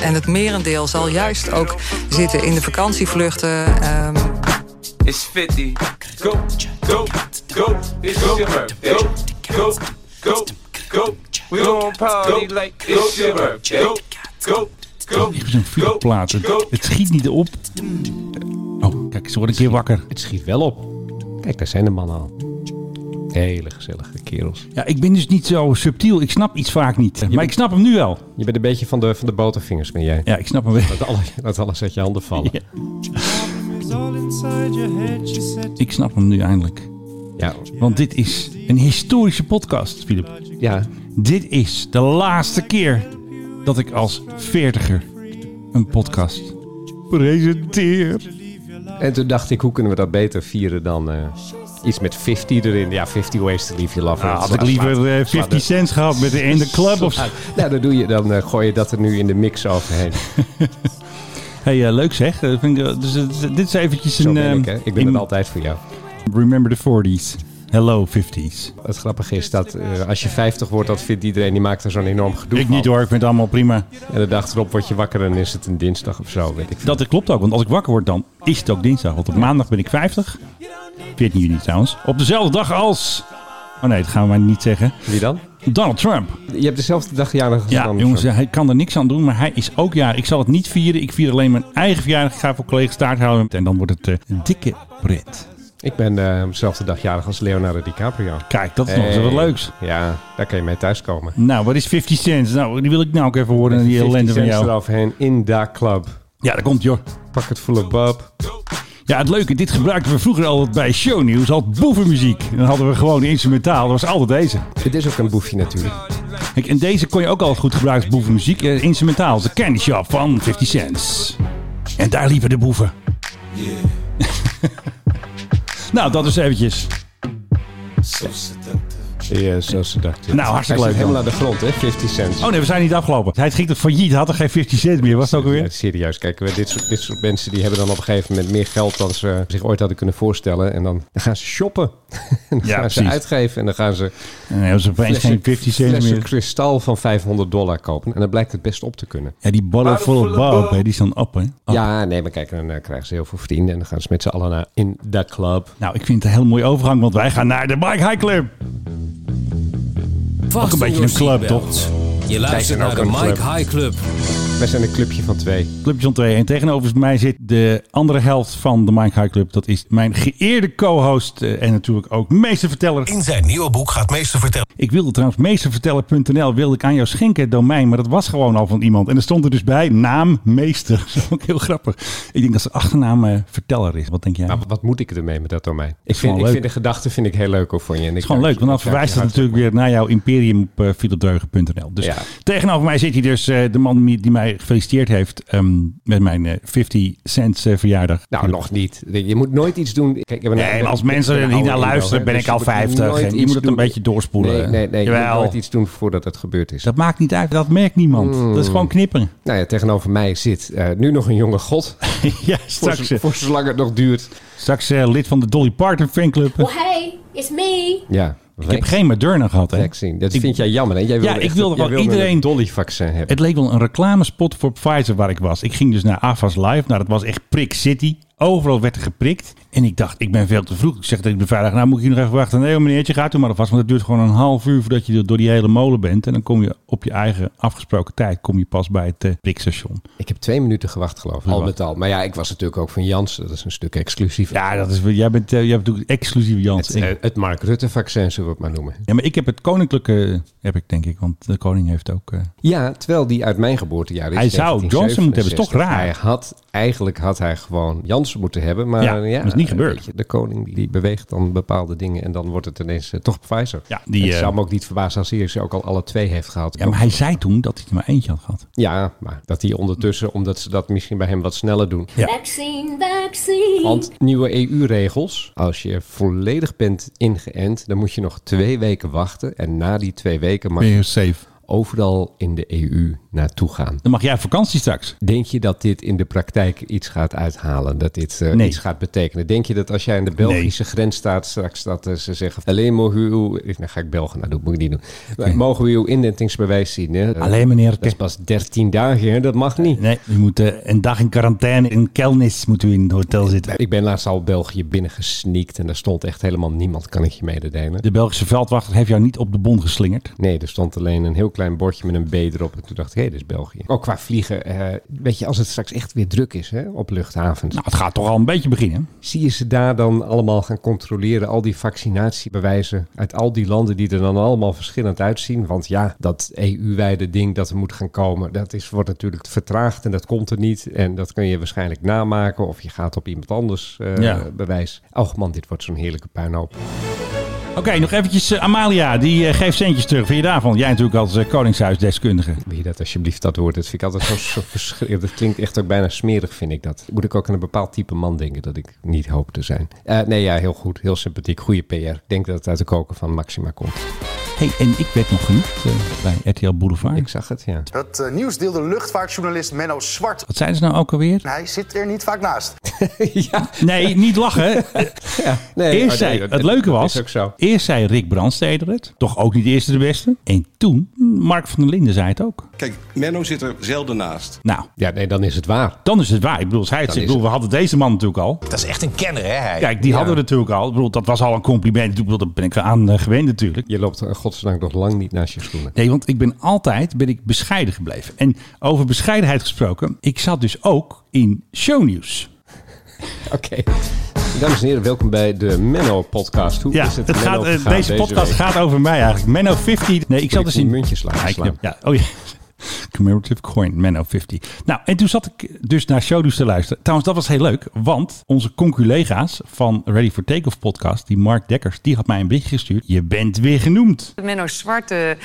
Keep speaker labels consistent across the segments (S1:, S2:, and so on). S1: En het merendeel zal juist ook zitten in de vakantievluchten. ehm,
S2: It's 50. Go, go, go. It's your birthday. Go, go, go, go. We gon' party like it's your birthday. Go, go, go,
S3: Even zo'n vuurplaat. Het, het schiet niet op. Oh, kijk, ze worden een keer wakker.
S4: Het schiet wel op. Kijk, daar zijn de mannen al. Hele gezellige kerels.
S3: Ja, ik ben dus niet zo subtiel. Ik snap iets vaak niet. Maar ik snap hem nu wel.
S4: Je bent een beetje van de, van de botervingers, ben jij.
S3: Ja, ik snap hem wel.
S4: Laat, alle, laat alles uit je handen vallen.
S3: Ja.
S4: Ja,
S3: Ik snap hem nu eindelijk.
S4: ja,
S3: Want dit is een historische podcast, Filip. Dit is de laatste keer dat ik als veertiger een podcast presenteer.
S4: En toen dacht ik, hoe kunnen we dat beter vieren dan eh, iets met 50 erin? Ja, 50 ways to leave your lover.
S3: Ah, had ik
S4: Sla- sla-
S3: liever eh,
S4: sla-
S3: 50
S4: sla-
S3: cent gehad met de in de club of zo.
S4: Nou, dan, doe je, dan eh, gooi je dat er nu in de mix overheen.
S3: Hey, eh, leuk zeg. Eh, vind ik, eh, dus, eh, dit is eventjes
S4: Zo
S3: een...
S4: ben
S3: ehm,
S4: ik, hè. Ik ben
S3: in-
S4: er altijd voor jou.
S3: Remember the 40s. Hello 50s.
S4: Het grappige is dat eh, als je 50 wordt, dat vindt iedereen, die maakt er zo'n enorm gedoe
S3: Ik
S4: van.
S3: niet hoor, ik vind het allemaal prima.
S4: En de dag erop word je wakker en is het een dinsdag of zo, weet ik veel.
S3: Dat klopt ook, want als ik wakker word dan is het ook dinsdag. Want op maandag ben ik 50. 14 juni trouwens. Op dezelfde dag als... Oh nee, dat gaan we maar niet zeggen.
S4: Wie dan?
S3: Donald Trump.
S4: Je hebt dezelfde dag jaren gedaan.
S3: Ja,
S4: of zo.
S3: jongens, hij kan er niks aan doen, maar hij is ook jaar. Ik zal het niet vieren. Ik vier alleen mijn eigen verjaardag. Ik ga voor collega's taart houden. En dan wordt het eh, een dikke pret.
S4: Ik ben eh, dezelfde dag jarig als Leonardo DiCaprio.
S3: Kijk, dat is nog eens wat
S4: Hey.
S3: leuks.
S4: Ja, daar kan je mee thuiskomen.
S3: Nou, wat is 50 cent? Nou, die wil ik nou ook even horen, die
S4: 50
S3: ellende van
S4: cents
S3: jou.
S4: eroverheen in da club.
S3: Ja, dat komt, joh.
S4: Pak het full of bub.
S3: Ja, het leuke, dit gebruikten we vroeger altijd bij shownieuws. Altijd boevenmuziek. En Dan hadden we gewoon instrumentaal. Dat was altijd deze.
S4: Het is ook een boefje natuurlijk.
S3: Kijk, en deze kon je ook altijd goed gebruiken als boevenmuziek. Eh, instrumentaal, de candy shop van 50 cents. En daar liepen de boeven. nou, dat is eventjes.
S4: Ja, zo seductief.
S3: Nou, hartstikke
S4: Hij
S3: leuk
S4: zit helemaal
S3: dan.
S4: aan de grond, hè? 50 cents.
S3: Oh nee, we zijn niet afgelopen. Hij ging toch failliet, had er geen 50 cent meer, was het ook
S4: Ja,
S3: alweer?
S4: serieus, kijk, we- dit soort, dit soort mensen die hebben dan op een gegeven moment meer geld dan ze zich ooit hadden kunnen voorstellen. En dan, dan gaan ze shoppen. en dan
S3: Ja,
S4: gaan
S3: precies.
S4: ze uitgeven en dan gaan ze
S3: Nee, hebben ze opeens geen 50 cent
S4: flessen
S3: meer.
S4: kristal van 500 dollar kopen. En dat blijkt het best op te kunnen.
S3: Ja, die ballen vol bouw, hè, die staan op, hè? Op.
S4: Ja, nee, maar kijk, dan eh, krijgen ze heel veel vrienden. En dan gaan ze met z'n allen naar in de club.
S3: Nou, ik vind het een heel mooie overgang, want wij gaan naar de Bike High Club.
S5: Vast
S3: een
S5: in
S3: beetje
S5: your
S3: een club,
S5: seatbelt. Je luistert
S4: zijn
S5: naar
S4: ook
S5: de
S4: een
S5: Mike
S4: club.
S5: High Club.
S4: Wij zijn een clubje van twee. Nou,
S3: Club John 2. En tegenover mij zit de andere helft van de Mike High Club. Dat is mijn geëerde co-host eh, en natuurlijk ook meesterverteller.
S6: In zijn nieuwe boek gaat meester vertellen
S3: Ik wilde trouwens meesterverteller.nl wilde ik aan jou schenken, het domein. Maar dat was gewoon al van iemand. En er stond er dus bij naam meester. Dat is ook heel grappig. Ik denk dat zijn achternaam eh, verteller is. Wat denk jij?
S4: Maar wat moet ik ermee met dat domein? Ik
S3: gewoon
S4: vind, ik
S3: leuk.
S4: vind de gedachte vind ik heel leuk hoor, van je. Het
S3: Het is gewoon leuk, want dan verwijst het natuurlijk weer naar jouw imperium op eh, philipdreugen.nl. Dus
S4: Ja.
S3: tegenover mij zit hij dus, eh, de man die mij gefeliciteerd heeft ehm, met mijn eh, 50 cent eh, verjaardag.
S4: Nou, nog niet. Je moet nooit iets doen. Kijk, nou- ik ben-
S3: Nee, maar als mensen
S4: ik ben
S3: er niet
S4: ouder
S3: naar
S4: in
S3: luisteren,
S4: wel,
S3: ben
S4: hè.
S3: ik al
S4: je moet
S3: 50
S4: nooit
S3: en je
S4: iets
S3: moet het een
S4: doen.
S3: beetje doorspoelen.
S4: Nee, nee, nee. Je moet
S3: Jawel.
S4: nooit iets doen voordat het gebeurd is.
S3: Dat maakt niet uit, dat merkt niemand.
S4: Hmm.
S3: Dat is gewoon knippen.
S4: Nou ja, tegenover mij zit eh, nu nog een jonge god.
S3: ja,
S4: Voor,
S3: straks,
S4: zo-
S3: eh,
S4: voor zolang het nog duurt.
S3: straks eh, lid van de Dolly Parton fanclub.
S7: Well, hey, it's me.
S4: Ja,
S3: Ik heb geen Moderna gehad, hè.
S4: vaccin. Dat
S3: Ik-
S4: vind jij jammer, hè? Jij wilde
S3: ik
S4: echt-
S3: wilde
S4: jij
S3: wel iedereen-
S4: een dolly-vaccin hebben.
S3: Het leek wel een reclamespot voor Pfizer waar ik was. Ik ging dus naar AFAS Live. Nou, dat was echt Prick City. Overal werd er geprikt. En ik dacht, ik ben veel te vroeg. Ik zeg dat ik de vrijdag, nou moet ik hier nog even wachten. Nee, hoor, meneertje, gaat u maar alvast. Want het duurt gewoon een half uur voordat je door die hele molen bent. En dan kom je op je eigen afgesproken tijd, kom je pas bij het eh, prikstation.
S4: Ik heb twee minuten gewacht, geloof ik. Al
S3: Gewacht.
S4: met al. Maar ja, ik was natuurlijk ook van Janssen. Dat is een stuk exclusief.
S3: Ja, dat is, wel- jij bent, eh, jij bent natuurlijk exclusief Jans.
S4: Het,
S3: Ik-
S4: eh, het Mark Rutte-vaccin, zullen we het maar noemen.
S3: ja, maar ik heb het koninklijke, eh, heb ik denk ik. Want de koning heeft ook... eh,
S4: Ja, terwijl die uit mijn geboortejaar is.
S3: Hij zou Johnson moeten hebben, is toch
S4: 1967.
S3: raar?
S4: Hij had, eigenlijk had hij gewoon Janssen moeten hebben. Maar
S3: Ja,
S4: ja,
S3: dat is niet gebeurd.
S4: weet je, de koning die, die beweegt dan bepaalde dingen. En dan wordt het ineens eh, toch Pfizer.
S3: Ja, die,
S4: het
S3: eh,
S4: zou me ook niet verbazen als hij ze ook al alle twee heeft gehad.
S3: ja, maar hij zei toen dat hij er maar eentje had gehad.
S4: Ja, maar dat hij ondertussen, omdat ze dat misschien bij hem wat sneller doen.
S3: Ja.
S7: Vaccine, vaccine.
S4: Want nieuwe EU-regels, als je volledig bent ingeënt, dan moet je nog twee weken wachten. En na die twee weken mag je
S3: safe?
S4: overal in de EU naartoe gaan.
S3: Dan mag jij op vakantie straks.
S4: Denk je dat dit in de praktijk iets gaat uithalen? Dat dit eh,
S3: Nee.
S4: iets gaat betekenen? Denk je dat als jij aan de Belgische grens staat straks, dat eh, ze zeggen: alleen mogen we uw. Ik- Nou, ga ik Belgen, nou, dat moet ik niet doen. Maar Mogen we uw indentingsbewijs zien? Hè? Eh,
S3: Alleen meneer
S4: Dat is
S3: Ke-
S4: pas 13 dagen, hè? dat mag niet.
S3: Nee, we moeten een dag in quarantaine in Kelnis moeten we in het hotel zitten.
S4: Ik ben laatst al België binnengesneakt en daar stond echt helemaal niemand, kan ik je mededelen.
S3: De Belgische veldwachter heeft jou niet op de bon geslingerd.
S4: Nee, er stond alleen een heel klein bordje met een B erop. En toen dacht ik, hé, dit is België. Ook qua vliegen, eh, weet je, als het straks echt weer druk is hè, op luchthavens.
S3: Nou, het gaat toch al een beetje beginnen.
S4: Zie je ze daar dan allemaal gaan controleren? Al die vaccinatiebewijzen uit al die landen die er dan allemaal verschillend uitzien. Want ja, dat EU-wijde ding dat er moet gaan komen, dat is, wordt natuurlijk vertraagd en dat komt er niet. En dat kun je waarschijnlijk namaken of je gaat op iemand anders eh,
S3: Ja.
S4: bewijs. Och man, dit wordt zo'n heerlijke puinhoop.
S3: Oké, nog eventjes eh, Amalia. Die eh, geeft centjes terug. Vind je daarvan? Jij natuurlijk als eh, koningshuisdeskundige.
S4: Wil je dat alsjeblieft, dat woord? Dat vind ik altijd zo, zo verschrikkelijk. Dat klinkt echt ook bijna smerig, vind ik dat. Moet ik ook aan een bepaald type man denken dat ik niet hoop te zijn. Eh, nee, ja, heel goed. Heel sympathiek. Goede PR. Ik denk dat het uit de koken van Maxima komt.
S3: hey, en ik werd nog genoemd eh, bij RTL Boulevard.
S4: Ik zag het, ja.
S5: Het eh, nieuws deelde luchtvaartjournalist Menno Zwart.
S3: Wat zeiden ze nou ook alweer?
S5: Hij zit er niet vaak naast.
S4: ja,
S3: Nee, niet lachen. Eh,
S4: nee, oh, nee,
S3: Eerst zei,
S4: dat-
S3: het leuke
S4: dat
S3: was,
S4: is ook zo.
S3: eerst zei Rick Brandsteder het. Toch ook niet de eerste de beste. En toen, Mark van der Linden zei het ook.
S8: Kijk, Menno zit er zelden naast.
S3: Nou,
S4: Ja, nee, dan is het waar.
S3: dan is het waar. Ik bedoel, als hij het
S4: Dan
S3: zegt, ik
S4: is
S3: bedoel, we hadden deze man natuurlijk al.
S6: Dat is echt een kenner, hè? Hij.
S3: Kijk, die hadden we natuurlijk al. Ik bedoel, dat was al een compliment. Ik bedoel, daar ben ik aan eh, gewend natuurlijk.
S4: Je loopt eh, godzijdank nog lang niet naast je schoenen.
S3: Nee, want ik ben altijd ben ik bescheiden gebleven. En over bescheidenheid gesproken, ik zat dus ook in shownieuws.
S4: Oké. Dames en heren, welkom bij de Menno-podcast. Hoe
S3: Ja,
S4: is het,
S3: het
S4: Menno
S3: gaat, eh,
S4: gegaan
S3: deze podcast
S4: week?
S3: gaat over mij eigenlijk. Menno 50. Nee, ik zat
S4: ik
S3: dus
S4: die
S3: in...
S4: muntjes laten
S3: Ja, ik-
S4: slaan.
S3: Ja, oh ja. Commemorative coin, Menno 50. Nou, en toen zat ik dus naar showdoes te luisteren. Trouwens, dat was heel leuk, want onze conculega's van Ready for Takeoff podcast, die Mark Dekkers, die had mij een berichtje gestuurd. Je bent weer genoemd.
S9: Menno Zwarte,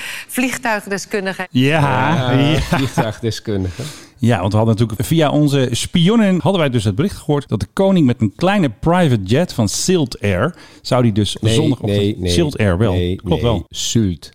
S9: vliegtuigdeskundige.
S3: Ja,
S4: Eh,
S3: ja.
S4: Vliegtuigdeskundige.
S3: Ja, want we hadden natuurlijk via onze spionnen hadden wij dus het bericht gehoord dat de koning met een kleine private jet van Silt Air zou die dus
S4: Nee,
S3: zondag op
S4: nee, nee,
S3: Silt Air wel.
S4: nee,
S3: Klopt
S4: nee.
S3: wel.
S4: Sult.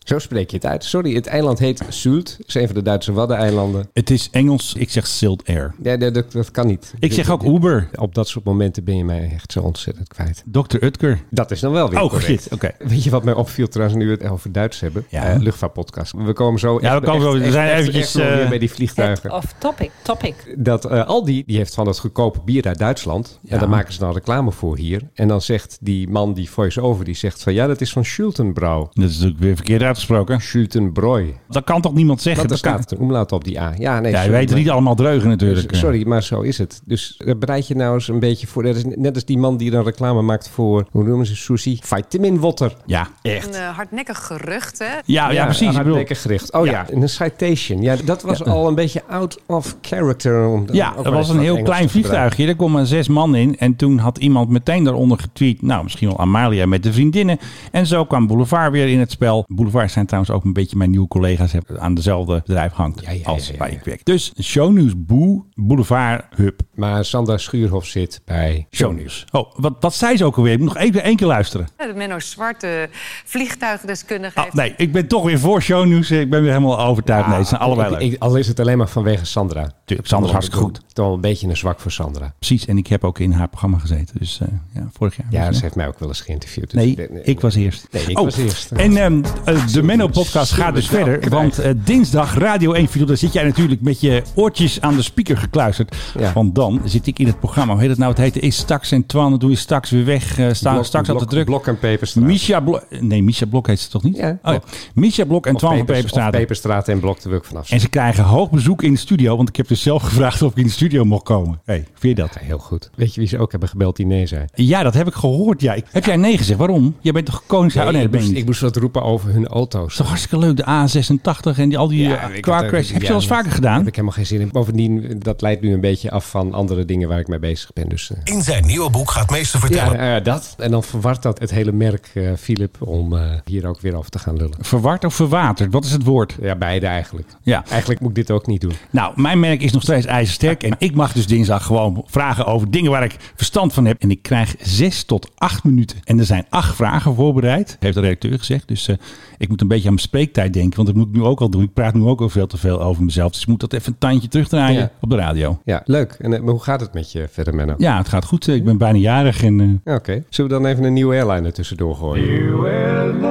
S4: Zo spreek je het uit. Sorry, het eiland heet Sult. Het is een van de Duitse Waddeneilanden.
S3: Het is Engels. Ik zeg Silt Air.
S4: Ja, nee, dat, dat kan niet.
S3: Ik zeg ook Uber.
S4: Op dat soort momenten ben je mij echt zo ontzettend kwijt.
S3: Dr. Utker.
S4: Dat is dan wel weer
S3: Oh,
S4: correct.
S3: shit. Oké.
S4: Weet je wat mij opviel trouwens nu we het over Duits hebben?
S3: Ja.
S4: Eh, luchtvaartpodcast. We komen zo
S3: Ja, we komen zo- we zijn eventjes,
S4: nog weer
S3: eh,
S4: bij die vliegtuigen.
S10: Of topic. Topic.
S4: dat eh, Aldi, die heeft van dat goedkope bier uit Duitsland. En daar maken ze dan reclame voor hier. En dan zegt die man, die voice-over, die zegt van... Ja, dat is van Schultenbrouw.
S3: Dat is natuurlijk weer verkeerd uitgesproken.
S4: Schultenbrooi.
S3: Dat kan toch niemand zeggen?
S4: Want er
S3: kan-
S4: staat een omlaut op die A. Ja, nee,
S3: Ja, je
S4: sorry,
S3: weet het
S4: maar-
S3: niet allemaal dreugen natuurlijk.
S4: Sorry, maar zo is het. Dus eh, bereid je nou eens een beetje voor. Dat is net als die man die dan reclame maakt voor, hoe noemen ze sushi? Vitaminwater.
S3: Ja.
S9: Een eh, hardnekkig gerucht, hè?
S3: Oh, Ja, ja, precies. Ik bedoel,
S4: Hardnekkig gericht. Oh ja. een citation. Ja, dat was al een beetje out of character. om dan
S3: ja,
S4: ook
S3: er
S4: maar
S3: was
S4: even
S3: een
S4: wat
S3: heel
S4: Engels
S3: klein
S4: te gebruiken.
S3: vliegtuigje. Er kon maar zes man in. En toen had iemand meteen daaronder getweet. Nou, misschien wel Amalia met de vriendinnen. En zo kwam Boulevard weer in het spel. Boulevard zijn trouwens ook een beetje mijn nieuwe collega's. Heb aan dezelfde bedrijf hangt
S4: ja, ja,
S3: als
S4: ja, ja,
S3: waar
S4: ja.
S3: ik werk. Dus shownieuws boe, Boulevard hub.
S4: Maar Sandra Schuurhof zit bij
S3: Shownieuws. Oh, wat, wat zei ze ook alweer? Ik moet nog even één keer luisteren.
S9: Menno Zwarte, vliegtuigdeskundige.
S3: Ah, nee, ik ben toch weer voor shownieuws. Ik ben weer helemaal overtuigd. nee, ze zijn allebei
S4: Ik-
S3: leuk.
S4: ik- al is het alleen maar vanwege Sandra.
S3: Tuurlijk, Sandra is hartstikke goed.
S4: Toch wel een beetje een zwak voor Sandra.
S3: Precies, en ik heb ook in haar programma gezeten. Dus eh, ja, vorig jaar.
S4: Ja,
S3: was,
S4: ze
S3: hè?
S4: heeft mij ook wel eens geïnterviewd. Dus
S3: Nee, ik was eerst. Oh,
S4: Nee, ik was eerst.
S3: En ehm, eh, de Menno-podcast gaat dus
S4: zullen we
S3: verder.
S4: dat
S3: Want eh, dinsdag Radio 1 Video, daar zit jij natuurlijk met je oortjes aan de speaker gekluisterd.
S4: Ja.
S3: Want dan zit ik in het programma. Hoe heet het nou? Het heette Is Straks en Twan. Doe je straks weer weg. eh staan
S4: Blok-
S3: straks
S4: Blok-
S3: altijd druk.
S4: Blok en Peperstraat.
S3: Misha Blok. Nee, Misha Blok heet ze toch niet?
S4: Ja,
S3: oh, ja.
S4: Blok.
S3: Misha Blok en
S4: Of
S3: Twan van
S4: Pepers-
S3: Peperstraat.
S4: Of Peperstraat en Blok de Wuk vanaf.
S3: En ze krijgen hoog bezoek in de studio. Want ik heb dus zelf gevraagd of ik in de studio mocht komen. hey, vind je dat?
S4: Ja, heel goed. Weet je wie ze ook hebben gebeld die nee zei?
S3: Ja, dat heb ik gehoord. Ja. Ik- heb jij nee gezegd? Waarom? Jij bent toch koningshuis? oh, nee,
S4: ik,
S3: dat ben je
S4: moest,
S3: niet.
S4: ik moest wat roepen over hun auto's.
S3: Het is toch hartstikke leuk, de A86 en die, al die eh,
S4: ik had
S3: car
S4: ook-
S3: crashes. Heb je
S4: ja,
S3: dat eens
S4: dat-
S3: vaker gedaan?
S4: Heb ik helemaal geen zin in. Bovendien, dat leidt nu een beetje af van andere dingen waar ik mee bezig ben. Dus, eh,
S6: In zijn nieuwe boek gaat meester vertellen.
S4: ja, eh, dat. En dan verwart dat het hele merk eh, Philip om eh, hier ook weer over te gaan lullen.
S3: Verward of verwaterd? Wat is het woord?
S4: Ja, beide eigenlijk.
S3: Ja.
S4: Eigenlijk moet ik dit ook niet doen.
S3: Nou, mijn merk is nog steeds ijzersterk. En ik mag dus dinsdag gewoon vragen over dingen waar ik verstand van heb. En ik krijg zes tot acht minuten. En er zijn acht vragen voorbereid, heeft de redacteur gezegd. Dus eh, ik moet een beetje aan mijn spreektijd denken. Want dat moet ik nu ook al doen. Ik praat nu ook al veel te veel over mezelf. Dus ik moet dat even een tandje terugdraaien
S4: Ja.
S3: op de radio.
S4: Ja, leuk. En eh, maar hoe gaat het met je verder, Menno?
S3: Ja, het gaat goed. Ik ben bijna jarig en... eh,
S4: Ja, Oké. Zullen we dan even een nieuwe airline er tussendoor gooien?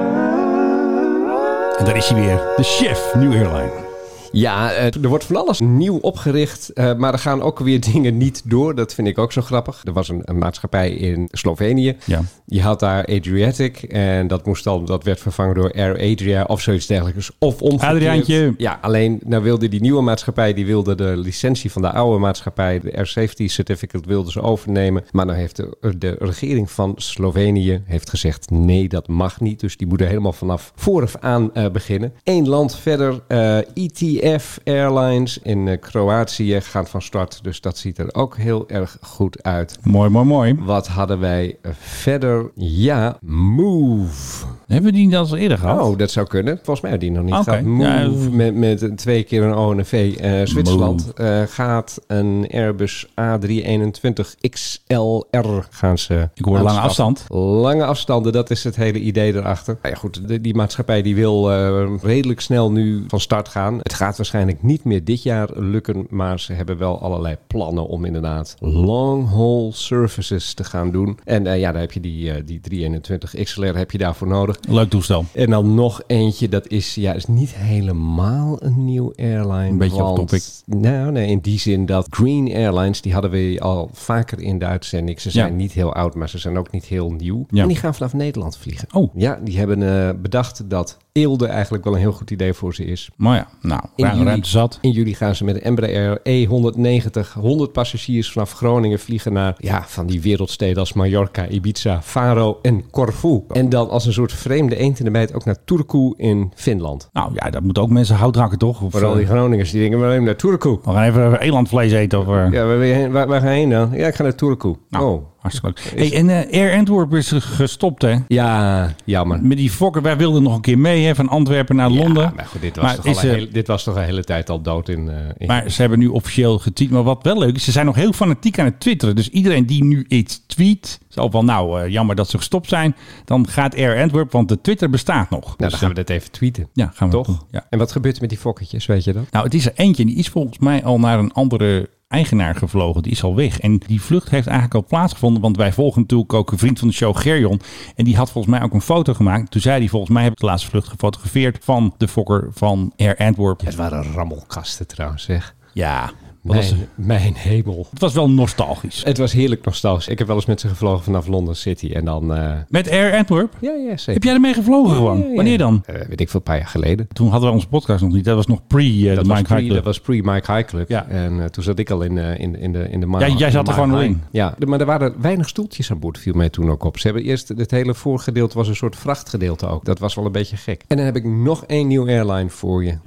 S3: En daar is hij weer, de chef New Airline.
S4: Ja, eh, er wordt van alles nieuw opgericht, eh, maar er gaan ook weer dingen niet door. Dat vind ik ook zo grappig. Er was een, een maatschappij in Slovenië.
S3: Ja.
S4: Je had daar Adriatic en dat, moest dan, dat werd vervangen door Air Adria of zoiets dergelijks. Of omgekeerd.
S3: Adriaantje.
S4: Ja, alleen nou wilde die nieuwe maatschappij, die wilde de licentie van de oude maatschappij, de Air Safety Certificate, wilden ze overnemen. Maar nou heeft de, de regering van Slovenië heeft gezegd, nee, dat mag niet. Dus die moeten helemaal vanaf vooraf aan eh, beginnen. Eén land verder, eh, ETF Airlines in eh, Kroatië gaat van start. Dus dat ziet er ook heel erg goed uit.
S3: Mooi, mooi, mooi.
S4: Wat hadden wij eh, verder? Ja, Move.
S3: Hebben we die niet al eens eerder gehad?
S4: Oh, dat zou kunnen. Volgens mij had die nog niet
S3: Oké.
S4: gehad. Move
S3: Ja,
S4: met, met een- twee keer een O en een V. eh, Zwitserland eh, gaat een Airbus A321 XLR gaan ze
S3: Ik hoor lange
S4: aanschaffen.
S3: afstand.
S4: Lange afstanden, dat is het hele idee erachter. Nou ja, goed, de- die maatschappij die wil eh, redelijk snel nu van start gaan. Het gaat waarschijnlijk niet meer dit jaar lukken, maar ze hebben wel allerlei plannen om inderdaad long-haul services te gaan doen. En eh, ja, daar heb je die, eh, die 321 XLR heb je daarvoor nodig.
S3: Leuk toestel.
S4: En dan nog eentje, dat is, ja, is niet helemaal een nieuw airline.
S3: Een beetje off
S4: want,
S3: topic.
S4: Nou, nee, in die zin dat Green Airlines, die hadden we al vaker in de uitzending. Ze zijn
S3: Ja.
S4: niet heel oud, maar ze zijn ook niet heel nieuw.
S3: Ja.
S4: En die gaan vanaf Nederland vliegen.
S3: Oh.
S4: Ja, die hebben eh, bedacht dat Eelde eigenlijk wel een heel goed idee voor ze is.
S3: Maar ja, nou,
S4: In
S3: ruim,
S4: juli-
S3: ruimte zat.
S4: In juli gaan ze met de Embraer E190 100 passagiers vanaf Groningen vliegen naar ja, van die wereldsteden als Mallorca, Ibiza, Faro en Corfu. En dan als een soort vreemde eend in de bijt ook naar Turku in Finland.
S3: Nou ja, dat moeten ook mensen hout hakken, toch? Of,
S4: Vooral die
S3: eh,
S4: Groningers die denken, waarom naar Turku?
S3: we gaan even elandvlees eten. Of, eh,
S4: Ja, waar, wil je heen? waar, waar ga je heen dan? Ja, ik ga naar Turku.
S3: nou,
S4: Oh.
S3: hartstikke leuk. Hey, en eh, Air Antwerp is gestopt, hè?
S4: Ja, jammer.
S3: Met die fokker, wij wilden nog een keer mee, hè? Van Antwerpen naar Londen.
S4: Ja, maar goed, dit was, toch
S3: is,
S4: al een
S3: eh,
S4: hele, dit was toch een hele tijd al dood in... eh, in-
S3: Maar ze hebben nu officieel getweet. Maar wat wel leuk is, ze zijn nog heel fanatiek aan het twitteren. Dus iedereen die nu iets tweet, zal van nou, eh, jammer dat ze gestopt zijn. Dan gaat Air Antwerp, want de Twitter bestaat nog.
S4: nou,
S3: Dus,
S4: dan gaan we dat even tweeten.
S3: ja, gaan we dat
S4: Toch?
S3: doen, ja.
S4: En wat gebeurt er met die fokketjes, weet je dat?
S3: Nou, het is er eentje. Die is volgens mij al naar een andere eigenaar gevlogen. Die is al weg. En die vlucht heeft eigenlijk al plaatsgevonden. Want wij volgen natuurlijk ook een vriend van de show, Gerjon. En die had volgens mij ook een foto gemaakt. Toen zei hij, volgens mij heb ik de laatste vlucht gefotografeerd van de fokker van Air Antwerp.
S4: Het waren rammelkasten trouwens, zeg.
S3: Ja, wat was,
S4: Mijn, mijn hemel.
S3: het was wel nostalgisch.
S4: Het was heerlijk nostalgisch. Ik heb wel eens met ze gevlogen vanaf London City. En dan... eh,
S3: Met Air Antwerp?
S4: ja, ja, zeker.
S3: Heb jij ermee gevlogen gewoon?
S4: Ja, ja, ja.
S3: Wanneer dan?
S4: Eh, weet ik veel, een paar jaar geleden.
S3: Toen hadden we onze podcast nog niet. Dat was nog pre eh, de
S4: Dat
S3: Mike
S4: was,
S3: High
S4: pre,
S3: Club.
S4: dat was pre-Mike High Club.
S3: Ja.
S4: En eh, toen zat ik al in, eh, in, in de in de mar-
S3: Ja, jij zat er
S4: mar-
S3: gewoon al
S4: high.
S3: in.
S4: Ja, de- maar er waren weinig stoeltjes aan boord, viel mij toen ook op. Ze hebben eerst, het hele voorgedeelte was een soort vrachtgedeelte ook. Dat was wel een beetje gek. En dan heb ik nog één nieuw airline voor je.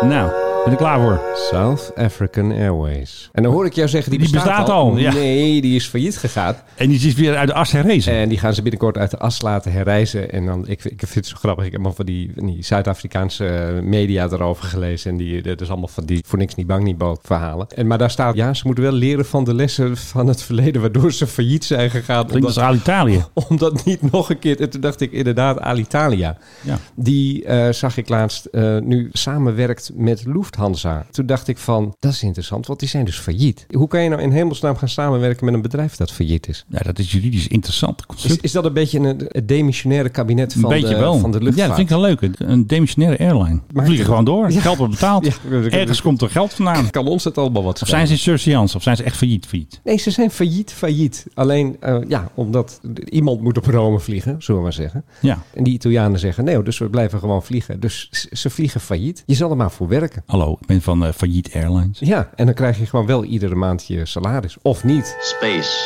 S3: Nou, ben ik klaar voor.
S4: South African Airways. En dan hoor ik jou zeggen, die,
S3: Die bestaat al, ja.
S4: Nee, die is failliet gegaan.
S3: En die is weer uit de as herrezen.
S4: En die gaan ze binnenkort uit de as laten herreizen. En dan, ik, ik vind het zo grappig. Ik heb allemaal van die, van die Zuid-Afrikaanse eh, media erover gelezen. En die, eh, dat is allemaal van die voor niks niet bang niet boot verhalen. En, maar daar staat, ja, ze moeten wel leren van de lessen van het verleden. Waardoor ze failliet zijn gegaan.
S3: Klinkt als Alitalia.
S4: om dat niet nog een keer... En toen dacht ik inderdaad Alitalia.
S3: Ja.
S4: Die eh, zag ik laatst eh, nu samenwerkt met Lufthansa. Toen dacht ik van, dat is interessant, want die zijn dus failliet. Hoe kan je nou in hemelsnaam gaan samenwerken met een bedrijf dat failliet is?
S3: Nou, dat is juridisch interessant
S4: Is,
S3: construct.
S4: is dat een beetje een, het demissionaire kabinet van,
S3: een beetje
S4: de,
S3: wel.
S4: van de
S3: ja,
S4: luchtvaart?
S3: dat vind ik wel leuk. Een- Een demissionaire airline. We
S4: Maar-
S3: vliegen gewoon door.
S4: Ja.
S3: Geld wordt betaald.
S4: Ja, dat- dat-
S3: Ergens komt er geld vandaan.
S4: Kan ons het allemaal wat
S3: Of zijn
S4: schelen?
S3: ze in surseance? Of zijn ze echt failliet? failliet?
S4: Nee, ze zijn failliet, failliet. Alleen, eh, ja, omdat iemand moet op Rome vliegen, zullen we maar zeggen.
S3: Ja,
S4: En die Italianen zeggen, nee, dus we blijven gewoon vliegen. Dus ze- ze vliegen failliet. Je zal er maar voor werken.
S3: hallo. Ik ben van eh, Failliet Airlines.
S4: Ja, en dan krijg je gewoon wel iedere maand je salaris. Of niet,
S10: Space,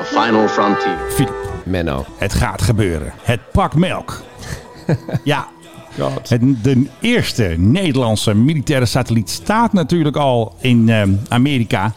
S10: a final frontier.
S3: Philip,
S4: Menno.
S3: het gaat gebeuren. Het pak melk. ja,
S4: God.
S3: Het, de eerste Nederlandse militaire satelliet staat natuurlijk al in ehm, Amerika.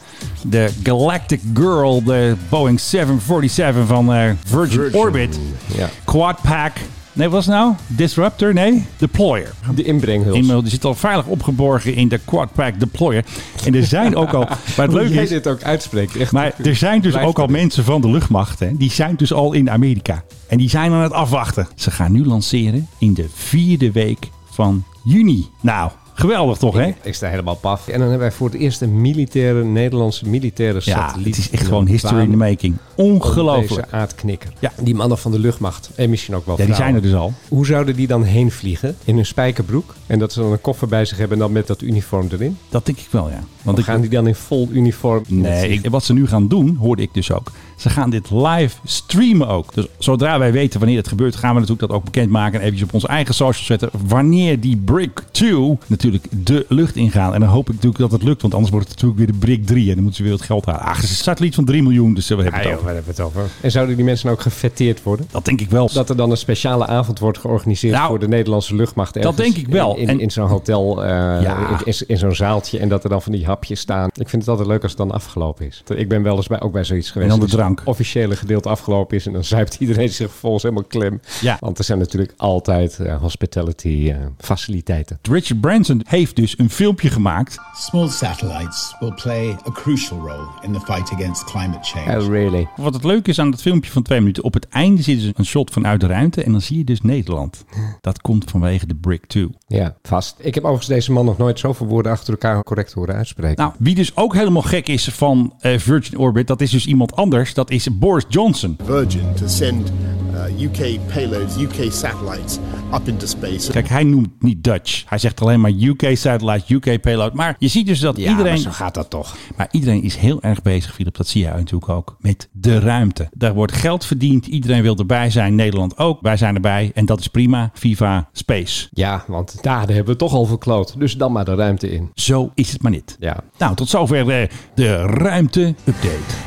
S3: De Galactic Girl, de Boeing 747 van eh, Virgin, Orbit.
S4: ja.
S3: Quad Pack. Nee, wat was het nou? Disruptor? Nee, Deployer.
S4: De inbrenghuls.
S3: Inmiddels, die zit al veilig opgeborgen in de Quad Pack Deployer. En er zijn ook al... Maar het
S4: Hoe
S3: leuke
S4: jij
S3: is...
S4: dit ook uitspreekt. Echt,
S3: Maar er zijn dus
S4: Blijf
S3: ook al
S4: erin.
S3: mensen van de luchtmacht. Hè? Die zijn dus al in Amerika. En die zijn aan het afwachten. Ze gaan nu lanceren in de vierde week van juni. Nou, geweldig toch, hè?
S4: Ik sta helemaal paf. En dan hebben wij voor het eerst een militaire, Nederlandse militaire
S3: Ja,
S4: satelliet.
S3: het is echt
S4: in
S3: gewoon
S4: de
S3: history in the
S4: baan
S3: making.
S4: om
S3: Ongelooflijk.
S4: Deze aardknikker.
S3: Ja.
S4: Die mannen van de luchtmacht. En misschien ook wel
S3: Ja, die zijn er
S4: vrouwen.
S3: dus al.
S4: Hoe zouden die dan heen vliegen? In een spijkerbroek? En dat ze dan een koffer bij zich hebben en dan met dat uniform erin?
S3: Dat denk ik wel, ja. Want
S4: Want
S3: ik,
S4: gaan die dan in vol uniform?
S3: Nee, ik- wat ze nu gaan doen, hoorde ik dus ook. Ze gaan dit live streamen ook. Dus zodra wij weten wanneer het gebeurt, gaan we natuurlijk dat ook bekendmaken. En eventjes op onze eigen socials zetten. Wanneer die Brick 2 natuurlijk de lucht ingaan. En dan hoop ik natuurlijk dat het lukt. Want anders wordt het natuurlijk weer de Brick 3. En dan moeten ze weer het geld halen. Ach, het is een satelliet van 3 miljoen. Dus we hebben
S4: Ja,
S3: het
S4: Ah, joh,
S3: over.
S4: waar hebben we het over? En zouden die mensen nou ook gefetteerd worden?
S3: Dat denk ik wel.
S4: Dat er dan een speciale avond wordt georganiseerd
S3: Nou,
S4: voor de Nederlandse luchtmacht. ergens
S3: denk ik wel.
S4: In, in,
S3: En-
S4: in zo'n hotel, eh,
S3: Ja.
S4: in, in- in zo'n zaaltje. En dat er dan van die hapjes staan. Ik vind het altijd leuk als het dan afgelopen is. Ik ben wel eens bij, ook bij zoiets geweest.
S3: dan de
S4: Dus het
S3: drank.
S4: officiële gedeelte afgelopen is. En dan zuipt iedereen zich volgens helemaal klem.
S3: Ja.
S4: Want er zijn natuurlijk altijd eh, hospitality eh, faciliteiten.
S3: Richard Branson heeft dus een filmpje gemaakt.
S11: Small satellites will play a crucial role in the fight against climate change.
S4: Oh, really?
S3: Wat het leuke is aan dat filmpje van twee minuten. Op het einde zit dus een shot vanuit de ruimte. En dan zie je dus Nederland. Dat komt vanwege de Brick 2.
S4: Ja, vast. Ik heb overigens deze man nog nooit zoveel woorden achter elkaar correct horen uitspreken.
S3: Nou, wie dus ook helemaal gek is van eh, Virgin Orbit, dat is dus iemand anders. Dat is Boris Johnson.
S11: Virgin to send UK payloads, UK satellites up into space.
S3: Kijk, hij noemt niet Dutch. Hij zegt alleen maar UK satellite, UK payload. Maar je ziet dus dat
S4: ja, maar
S3: iedereen.
S4: zo gaat dat toch.
S3: Maar iedereen is heel erg bezig, Philip. Dat zie je natuurlijk ook. Met de ruimte. Daar wordt geld verdiend. Iedereen wil erbij zijn. Nederland ook. Wij zijn erbij. En dat is prima. Viva Space.
S4: Ja, want daar hebben we toch al verkloot. Dus dan maar de ruimte in.
S3: Zo is het maar niet.
S4: Ja.
S3: Nou, tot zover eh, de ruimte-update.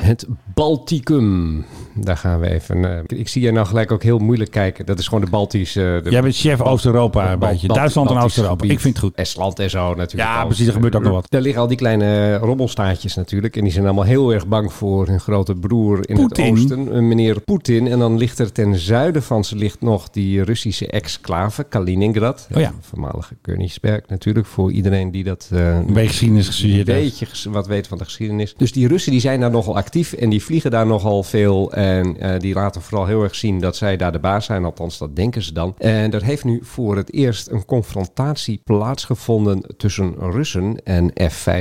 S4: Het Balticum. Daar gaan we even. eh, ik- ik zie jij nou gelijk ook heel moeilijk kijken. Dat is gewoon de Baltische. de-
S3: Jij bent chef Oost-Europa een
S4: Bal-
S3: beetje.
S4: Bal-
S3: Duitsland en
S4: Baltisch
S3: Oost-Europa.
S4: gebied.
S3: Ik vind het goed.
S4: Estland en zo natuurlijk.
S3: Ja,
S4: al.
S3: precies, er gebeurt ook nog wat.
S4: Daar liggen al die kleine robelstaatjes natuurlijk. En die zijn allemaal heel erg bang voor hun grote broer in
S3: Poetin.
S4: het oosten. een Meneer Poetin. En dan ligt er ten zuiden van ze ligt nog die Russische exclave Kaliningrad.
S3: Oh ja.
S4: Voormalige Königsberg natuurlijk. Voor iedereen die dat eh,
S3: Een beetje geschiedenis
S4: een
S3: gestudeerd. heeft.
S4: beetje ges- wat weet van de geschiedenis. Dus die Russen die zijn daar nogal actief en die vliegen daar nogal veel. En eh, die laten vooral heel erg zien dat zij daar de baas zijn. Althans, dat denken ze dan. En er heeft nu voor het eerst een confrontatie plaatsgevonden tussen Russen en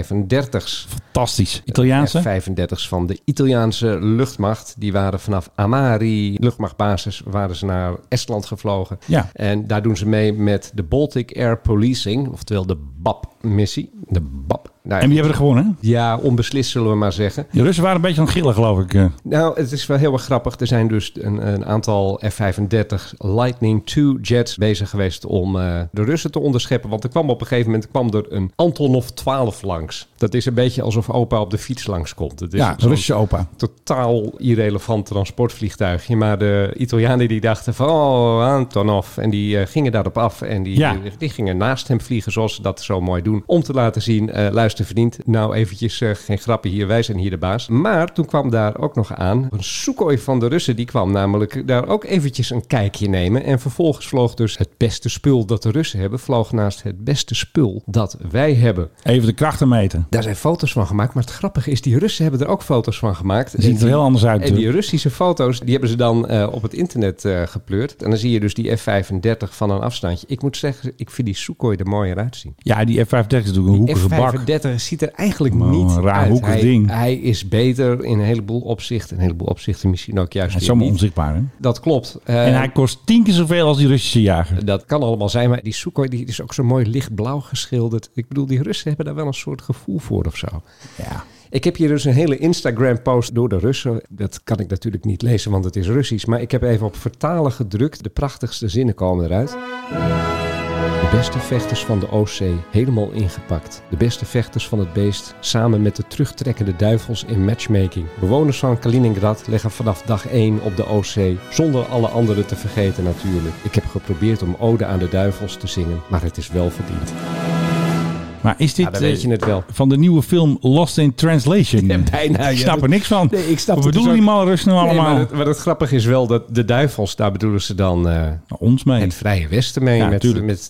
S4: F-35's.
S3: Fantastisch. Italiaanse?
S4: F-35's van de Italiaanse luchtmacht. Die waren vanaf Amari, luchtmachtbasis, waren ze naar Estland gevlogen.
S3: Ja.
S4: En daar doen ze mee met de Baltic Air Policing, oftewel de BAP-missie. De BAP. Nou,
S3: En wie hebben er gewonnen?
S4: ja, onbeslist zullen we maar zeggen.
S3: De Russen waren een beetje aan het gillen, geloof ik. eh.
S4: Nou, het is wel heel erg grappig. Er zijn dus een, een aantal F-35 Lightning II jets bezig geweest om eh, de Russen te onderscheppen. Want er kwam op een gegeven moment kwam er een Antonov 12 langs. Dat is een beetje alsof opa op de fiets langskomt. Het is
S3: Ja,
S4: zo'n
S3: Russische opa.
S4: Totaal irrelevant transportvliegtuigje. Maar de Italianen die dachten van, oh, Antonov. En die eh, gingen daarop af. En die, eh,
S3: Ja.
S4: die gingen naast hem vliegen, zoals ze dat zo mooi doen. Om te laten zien, eh, luister verdient. Nou, eventjes eh, geen grappen hier. Wij zijn hier de baas. Maar toen kwam daar ook nog aan. Een soekoi van de Russen, die kwam namelijk daar ook eventjes een kijkje nemen. En vervolgens vloog dus het beste spul dat de Russen hebben. Vloog naast het beste spul dat wij hebben.
S3: Even de krachten meten.
S4: Daar zijn foto's van gemaakt. Maar het grappige is, die Russen hebben er ook foto's van gemaakt.
S3: Ziet
S4: En
S3: er
S4: die-
S3: heel anders uit,
S4: En die
S3: hoor.
S4: Russische foto's, die hebben ze dan eh, op het internet eh, gepleurd. En dan zie je dus die F-35 van een afstandje. Ik moet zeggen, ik vind die Sukhoi er mooier uitzien.
S3: Ja, die F-35 is natuurlijk een hoekige bak.
S4: F-35 ziet er eigenlijk
S3: Maar
S4: niet
S3: een raar
S4: uit.
S3: hoekig
S4: hij,
S3: ding.
S4: hij is beter in een heleboel opzichten. In een heleboel opzichten misschien ook juist
S3: Hij is
S4: weer
S3: zomaar
S4: niet.
S3: onzichtbaar, hè?
S4: Dat klopt. Eh,
S3: En hij kost tien keer zoveel als die Russische jager.
S4: dat kan allemaal zijn, maar die Sukhoi die is ook zo mooi lichtblauw geschilderd. Ik bedoel, die Russen hebben daar wel een soort gevoel voor of zo.
S3: Eh, Ja.
S4: Ik heb hier dus een hele Instagram-post door de Russen. Dat kan ik natuurlijk niet lezen, want het is Russisch. Maar ik heb even op vertalen gedrukt. De prachtigste zinnen komen eruit. De beste vechters van de Oostzee helemaal ingepakt. De beste vechters van het beest samen met de terugtrekkende duivels in matchmaking. Bewoners van Kaliningrad leggen vanaf dag 1 op de Oostzee. Zonder alle anderen te vergeten natuurlijk. Ik heb geprobeerd om ode aan de duivels te zingen, maar het is wel verdiend.
S3: Maar is dit
S4: Ja, dan weet
S3: eh,
S4: je het wel.
S3: van de nieuwe film Lost in Translation?
S4: Ja, bijna,
S3: Ik
S4: ja.
S3: snap er niks van.
S4: Nee, ik snap
S3: Wat
S4: het
S3: bedoelen
S4: dus
S3: die
S4: ook-
S3: mannen Russen nou
S4: Nee,
S3: allemaal?
S4: maar, het, maar het grappige is wel dat de duivels, daar bedoelen ze dan eh,
S3: Nou, Ons mee.
S4: het Vrije Westen mee.
S3: Ja,
S4: met,
S3: tuurlijk.
S4: met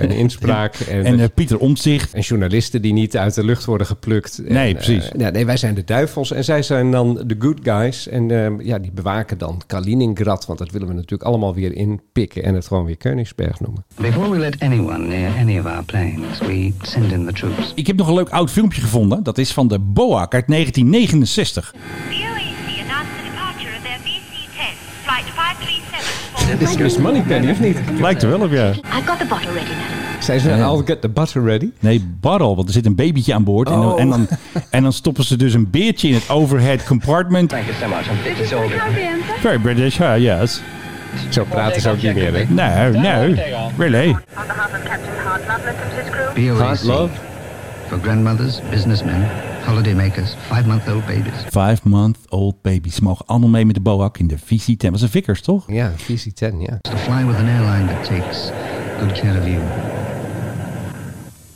S4: en inspraak. en,
S3: En eh, Pieter Omtzigt.
S4: en journalisten die niet uit de lucht worden geplukt. En,
S3: Nee,
S4: eh,
S3: precies.
S4: ja, nee, wij zijn de duivels en zij zijn dan de good guys. En eh, ja, die bewaken dan Kaliningrad. Want dat willen we natuurlijk allemaal weer inpikken. En het gewoon weer Koningsberg noemen.
S12: Before we let anyone near any of our planes, we send in the troops.
S3: Ik heb nog een leuk oud filmpje gevonden. Dat is van de BOAK uit 1969.
S4: Dit is Miss Moneypenny, of niet?
S3: Lijkt er wel op, ja.
S13: I've got the bottle ready now.
S4: Zij ze, I'll get the butter ready.
S3: Nee, barrel, want er zit een babytje aan boord. En, dan,
S4: Oh.
S3: en, dan, en dan stoppen ze dus een beertje in het overhead compartment. Thank you so much. Very British, huh? Yes.
S4: Zo praten ze ook niet meer, hè?
S3: No, no. Really?
S12: BOAC. For grandmothers, businessmen, holidaymakers, five-month-old babies.
S3: Five-month-old baby's mogen allemaal mee met de BOAK in de visie. Dat was een vickers, toch?
S4: Ja, visie 10, ja.
S12: To fly with an airline that takes good care of you.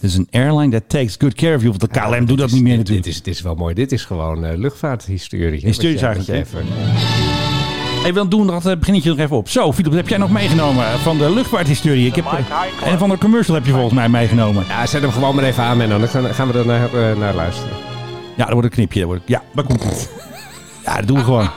S3: Dus een airline that takes good care of you. Want de KLM doet dat niet meer
S4: Dit
S3: natuurlijk.
S4: is, dit is wel mooi. Dit is gewoon eh, luchtvaarthistorie. hè,
S3: Historisch
S4: wat je- wat je
S3: eigenlijk,
S4: even-
S3: Hey, dan doen we dat eh, beginnetje nog even op. Zo, Philip, wat heb jij nog meegenomen van de luchtvaarthistorie? Ik heb, eh, en van de commercial heb je volgens mij meegenomen.
S4: Ja, zet hem gewoon maar even aan, Menno. Dan gaan gaan we er naar, eh, naar luisteren.
S3: Ja, dat wordt een knipje. Dat wordt, ja, maar komt het. Ja, dat doen we gewoon.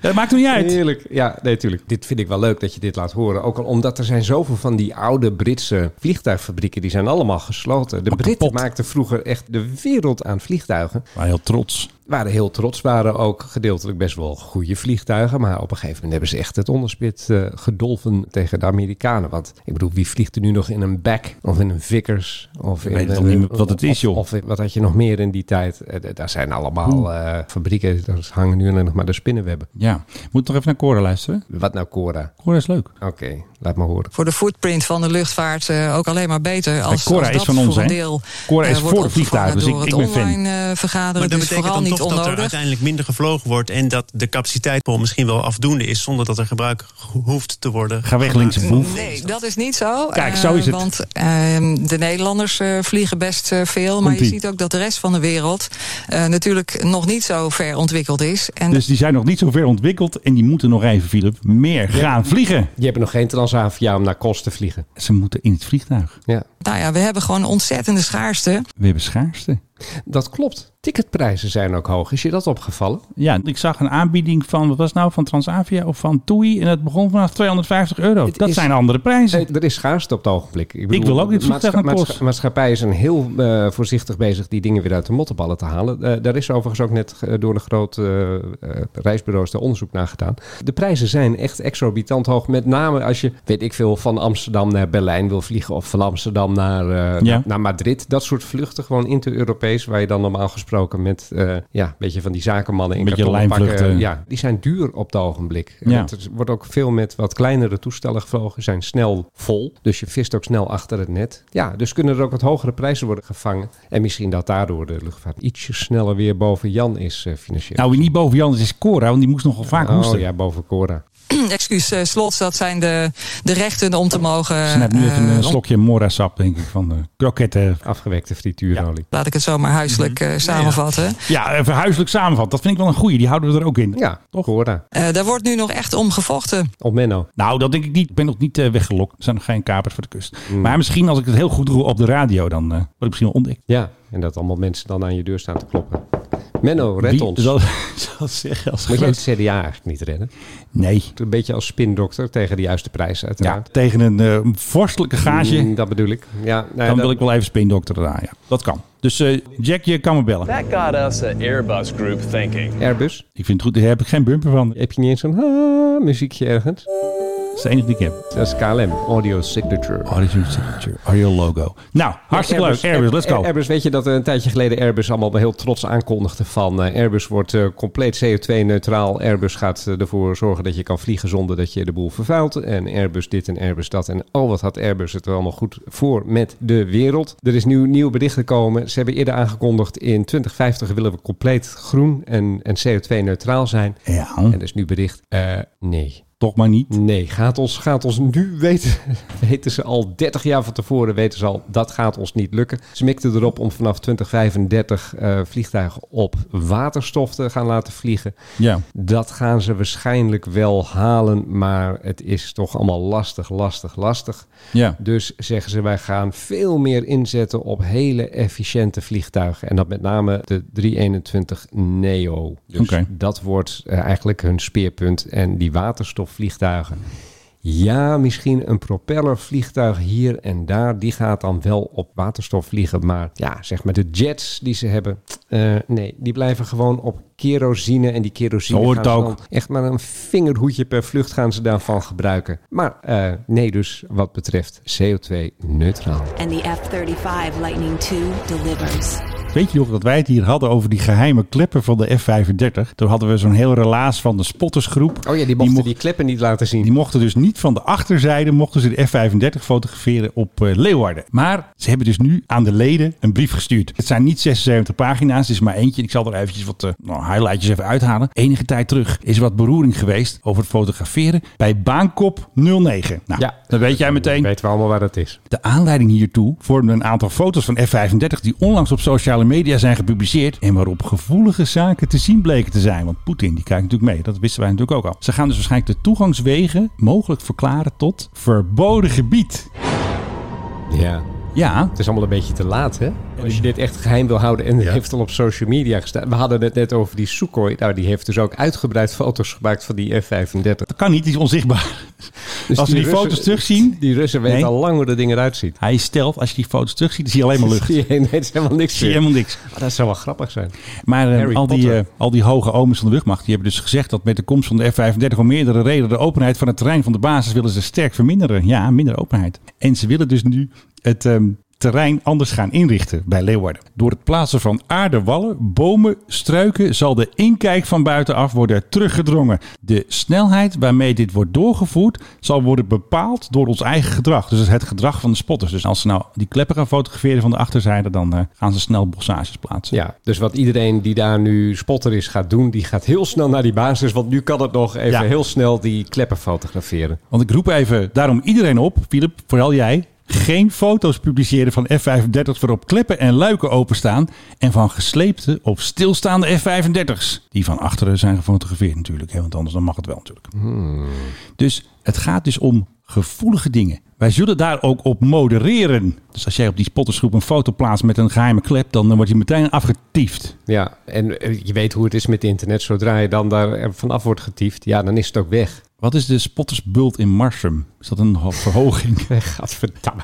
S3: Dat maakt er niet uit.
S4: Heerlijk. Ja, nee, tuurlijk. Dit vind ik wel leuk dat je dit laat horen. Ook al omdat er zijn zoveel van die oude Britse vliegtuigfabrieken. Die zijn allemaal gesloten. De
S3: Maar
S4: Britten
S3: kapot.
S4: maakten vroeger echt de wereld aan vliegtuigen.
S3: Maar heel trots.
S4: Waren heel trots. Waren ook gedeeltelijk best wel goede vliegtuigen. Maar op een gegeven moment hebben ze echt het onderspit eh, gedolven tegen de Amerikanen. Want ik bedoel, wie vliegt er nu nog in een Beck of in een Vickers? Of in
S3: weet
S4: een-
S3: toch niet meer wat het is, joh.
S4: Of, of wat had je nog meer in die tijd? Eh, d- daar zijn allemaal eh, fabrieken. Daar hangen nu alleen nog maar de spinnenwebben.
S3: Ja. Moet toch even naar Cora luisteren?
S4: Wat nou, Cora?
S3: Cora is leuk.
S4: Oké, laat maar horen.
S1: Voor de footprint van de luchtvaart eh, ook alleen maar beter. Als,
S3: Cora
S1: als
S3: is
S1: dat
S3: van ons,
S1: voor een
S3: hè?
S1: deel
S3: Cora
S1: eh,
S3: is
S1: wordt
S3: voor het vliegtuig,
S1: opgevangen
S3: dus ik-
S1: door
S3: ik
S1: het
S3: ben fan.
S1: online eh, vergaderen. Het is
S14: Maar dat betekent
S1: vooral
S14: dan
S1: niet
S14: toch dat er
S1: onnodig.
S14: uiteindelijk minder gevlogen wordt... en dat de capaciteit misschien wel afdoende is... zonder dat er gebruik ho- hoeft te worden.
S3: Ga weg, linkse boef.
S1: Nee, dat is niet zo.
S3: Kijk,
S1: Eh,
S3: zo is het.
S1: Want ehm, de Nederlanders eh, vliegen best eh, veel. Maar je
S3: Komt-ie.
S1: ziet ook dat de rest van de wereld eh, natuurlijk nog niet zo ver ontwikkeld is. En
S3: Dus die zijn nog niet zo ver ontwikkeld en die moeten nog even, Philip, meer gaan vliegen.
S4: Je hebt nog geen Transavia om naar Kos te vliegen.
S3: Ze moeten in het vliegtuig.
S4: Ja,
S1: nou ja, we hebben gewoon ontzettende schaarste.
S3: We hebben schaarste.
S4: dat klopt. Ticketprijzen zijn ook hoog. Is je dat opgevallen?
S3: Ja, ik zag een aanbieding van, wat was het nou, van Transavia of van TUI. En dat begon vanaf 250 euro.
S4: Het
S3: dat
S4: is-
S3: zijn andere prijzen.
S4: Nee, er is schaarste op het ogenblik.
S3: wil ook niet vliegtuig naar Kos.
S4: Maatschappijen zijn heel eh, voorzichtig bezig die dingen weer uit de mottenballen te halen. Eh, daar is overigens ook net eh, door een groot eh, eh, reisbureaus daar onderzoek naar gedaan. De prijzen zijn echt exorbitant hoog. Met name als je, weet ik veel, van Amsterdam naar Berlijn wil vliegen of van Amsterdam naar,
S3: Ja.
S4: eh, naar, naar Madrid. Dat soort vluchten gewoon inter-Europees waar je dan normaal gesproken met eh, ja, een beetje van die zakenmannen in
S3: Beetje
S4: kartonnen pakken.
S3: lijnvluchten.
S4: Ja, die zijn duur op het ogenblik.
S3: Ja.
S4: Want Er wordt ook veel met wat kleinere toestellen gevlogen, zijn snel vol. Dus je vist ook snel achter het net. Ja, dus kunnen er ook wat hogere prijzen worden gevangen. En misschien dat daardoor de luchtvaart ietsje sneller weer boven Jan is eh, financieel.
S3: Nou, wie niet boven Jan is, is Cora, want die moest nogal vaak
S4: oh
S3: hoesten.
S4: ja, boven Cora.
S1: Excuus, eh, slots, dat zijn de, de rechten om te mogen...
S3: Ze neemt nu even
S1: eh,
S3: een slokje morasap, denk ik, van de kroketten.
S4: Afgewekte frituurolie.
S1: Laat ik het zomaar huiselijk eh, samenvatten.
S3: Ja, even huiselijk samenvat. Dat vind ik wel een goeie. Die houden we er ook in.
S4: Ja, Cora.
S1: Eh, daar wordt nu nog echt om gevochten.
S4: Op Menno.
S3: Nou, dat denk ik niet. Ik ben nog niet eh, weggelokt. Er zijn nog geen kapers voor de kust.
S4: Mm.
S3: Maar misschien als ik het heel goed doe op de radio, dan eh, word ik misschien wel ontdekt.
S4: Ja, en dat allemaal mensen dan aan je deur staan te kloppen. Menno, red
S3: Wie
S4: ons.
S3: Zal, zal zeggen als
S4: Moet je het
S3: groot...
S4: CDA eigenlijk niet redden?
S3: Nee.
S4: Een beetje als spindokter tegen de juiste prijs
S3: Ja,
S4: uiteraard.
S3: tegen een eh, vorstelijke gage.
S4: Mm, dat bedoel ik. Ja, nou ja,
S3: Dan wil
S4: dat-
S3: ik wel even spindokter eraan. Ja. Dat kan. Dus eh, Jack, je kan me bellen.
S15: That got us an Airbus group thinking.
S4: Airbus.
S3: Ik vind het goed. Daar heb ik geen bumper van. Dat
S4: Heb je niet eens zo'n ah, muziekje ergens?
S3: is de enige die ik heb.
S4: Dat is KLM, Audio Signature.
S3: Oh, dit is een signature. Audio logo. Nou, hartstikke leuk. Airbus, let's go.
S4: Airbus, weet je dat een tijdje geleden Airbus allemaal heel trots aankondigde van... eh, Airbus wordt eh, compleet CO2-neutraal. Airbus gaat eh, ervoor zorgen dat je kan vliegen zonder dat je de boel vervuilt. En Airbus dit en Airbus dat. En al wat had Airbus het er allemaal goed voor met de wereld. Er is nu nieuw bericht gekomen. Ze hebben eerder aangekondigd in 2050 willen we compleet groen en, en CO2-neutraal zijn.
S3: Ja.
S4: En er is nu bericht, eh, nee.
S3: toch maar niet.
S4: Nee, gaat ons, gaat ons nu weten, weten ze al 30 jaar van tevoren, weten ze al, dat gaat ons niet lukken. Ze mikten erop om vanaf 2035 eh, vliegtuigen op waterstof te gaan laten vliegen.
S3: Ja.
S4: Dat gaan ze waarschijnlijk wel halen, maar het is toch allemaal lastig, lastig, lastig.
S3: Ja.
S4: Dus zeggen ze, wij gaan veel meer inzetten op hele efficiënte vliegtuigen. En dat met name de 321 Neo. Dus
S3: Oké.
S4: dat wordt eh, eigenlijk hun speerpunt. En die waterstofvliegtuigen. Ja, misschien een propellervliegtuig hier en daar. Die gaat dan wel op waterstof vliegen. Maar ja, zeg maar de jets die ze hebben. eh, nee, die blijven gewoon op kerosine. En die kerosine
S3: Zo hoort
S4: gaan ze
S3: ook.
S4: dan echt maar een vingerhoedje per vlucht gaan ze daarvan gebruiken. Maar eh, nee, dus wat betreft CO2 neutraal.
S13: And the F 35 Lightning II delivers.
S3: Weet je nog dat wij het hier hadden over die geheime kleppen van de F-35? Toen hadden we zo'n heel relaas van de spottersgroep.
S4: Oh ja, die mochten die kleppen niet laten zien.
S3: Die mochten dus niet van de achterzijde, mochten ze de F-35 fotograferen op eh, Leeuwarden. Maar ze hebben dus nu aan de leden een brief gestuurd. Het zijn niet 76 pagina's, het is maar eentje. Ik zal er eventjes wat eh, nou, highlightjes even uithalen. Enige tijd terug is wat beroering geweest over het fotograferen bij Baankop 09. Nou,
S4: Ja.
S3: dan weet jij meteen.
S4: Weten we allemaal waar dat is.
S3: De aanleiding hiertoe vormden een aantal foto's van F-35 die onlangs op sociale media zijn gepubliceerd en waarop gevoelige zaken te zien bleken te zijn. Want Poetin die kijkt natuurlijk mee, dat wisten wij natuurlijk ook al. Ze gaan dus waarschijnlijk de toegangswegen mogelijk verklaren tot verboden gebied.
S4: Ja.
S3: Ja.
S4: Het is allemaal een beetje te laat, hè? Als je dit echt geheim wil houden en heeft al op social media gestaan. We hadden het net over die Sukhoi. Nou, die heeft dus ook uitgebreid foto's gemaakt van die F-35. Dus
S3: Dat kan niet, die is onzichtbaar. als we die
S4: Russen-
S3: foto's terugzien...
S4: Die Russen weten
S3: Nee.
S4: al lang hoe dat ding eruit ziet.
S3: Hij stelt, als je die foto's terugziet, dan zie je alleen maar lucht.
S4: Zie je, nee, het is helemaal niks
S3: Zie je
S4: meer.
S3: helemaal niks.
S4: Maar dat zou wel grappig zijn.
S3: Maar eh,
S4: Harry
S3: al, die,
S4: Potter.
S3: eh, al die hoge omens van de luchtmacht die hebben dus gezegd dat met de komst van de F-35 om meerdere redenen de openheid van het terrein van de basis willen ze sterk verminderen. Ja, minder openheid. En ze willen dus nu het ehm, terrein anders gaan inrichten bij Leeuwarden. Door het plaatsen van aardewallen, bomen, struiken zal de inkijk van buitenaf worden teruggedrongen. De snelheid waarmee dit wordt doorgevoerd zal worden bepaald door ons eigen gedrag. Dus het gedrag van de spotters. Dus als ze nou die kleppen gaan fotograferen van de achterzijde, dan eh, gaan ze snel bossages plaatsen.
S4: Ja, dus wat iedereen die daar nu spotter is gaat doen, die gaat heel snel naar die basis. Want nu kan het nog even
S3: Ja.
S4: heel snel die kleppen fotograferen.
S3: Want ik roep even daarom iedereen op, Filip, vooral jij. Geen foto's publiceren van F-35 waarop kleppen en luiken openstaan. En van gesleepte of stilstaande F-35's. Die van achteren zijn gefotografeerd natuurlijk. Hè, want anders dan mag het wel natuurlijk.
S4: Hmm.
S3: Dus het gaat dus om gevoelige dingen. Wij zullen daar ook op modereren. Dus als jij op die spottersgroep een foto plaatst met een geheime klep... dan eh, wordt je meteen afgetiefd.
S4: Ja, en eh, je weet hoe het is met internet. Zodra je dan daar eh, vanaf wordt getiefd, ja, dan is het ook weg.
S3: Wat is de spottersbult in Marsum? Is dat een ho- verhoging?
S4: Gadverdamme.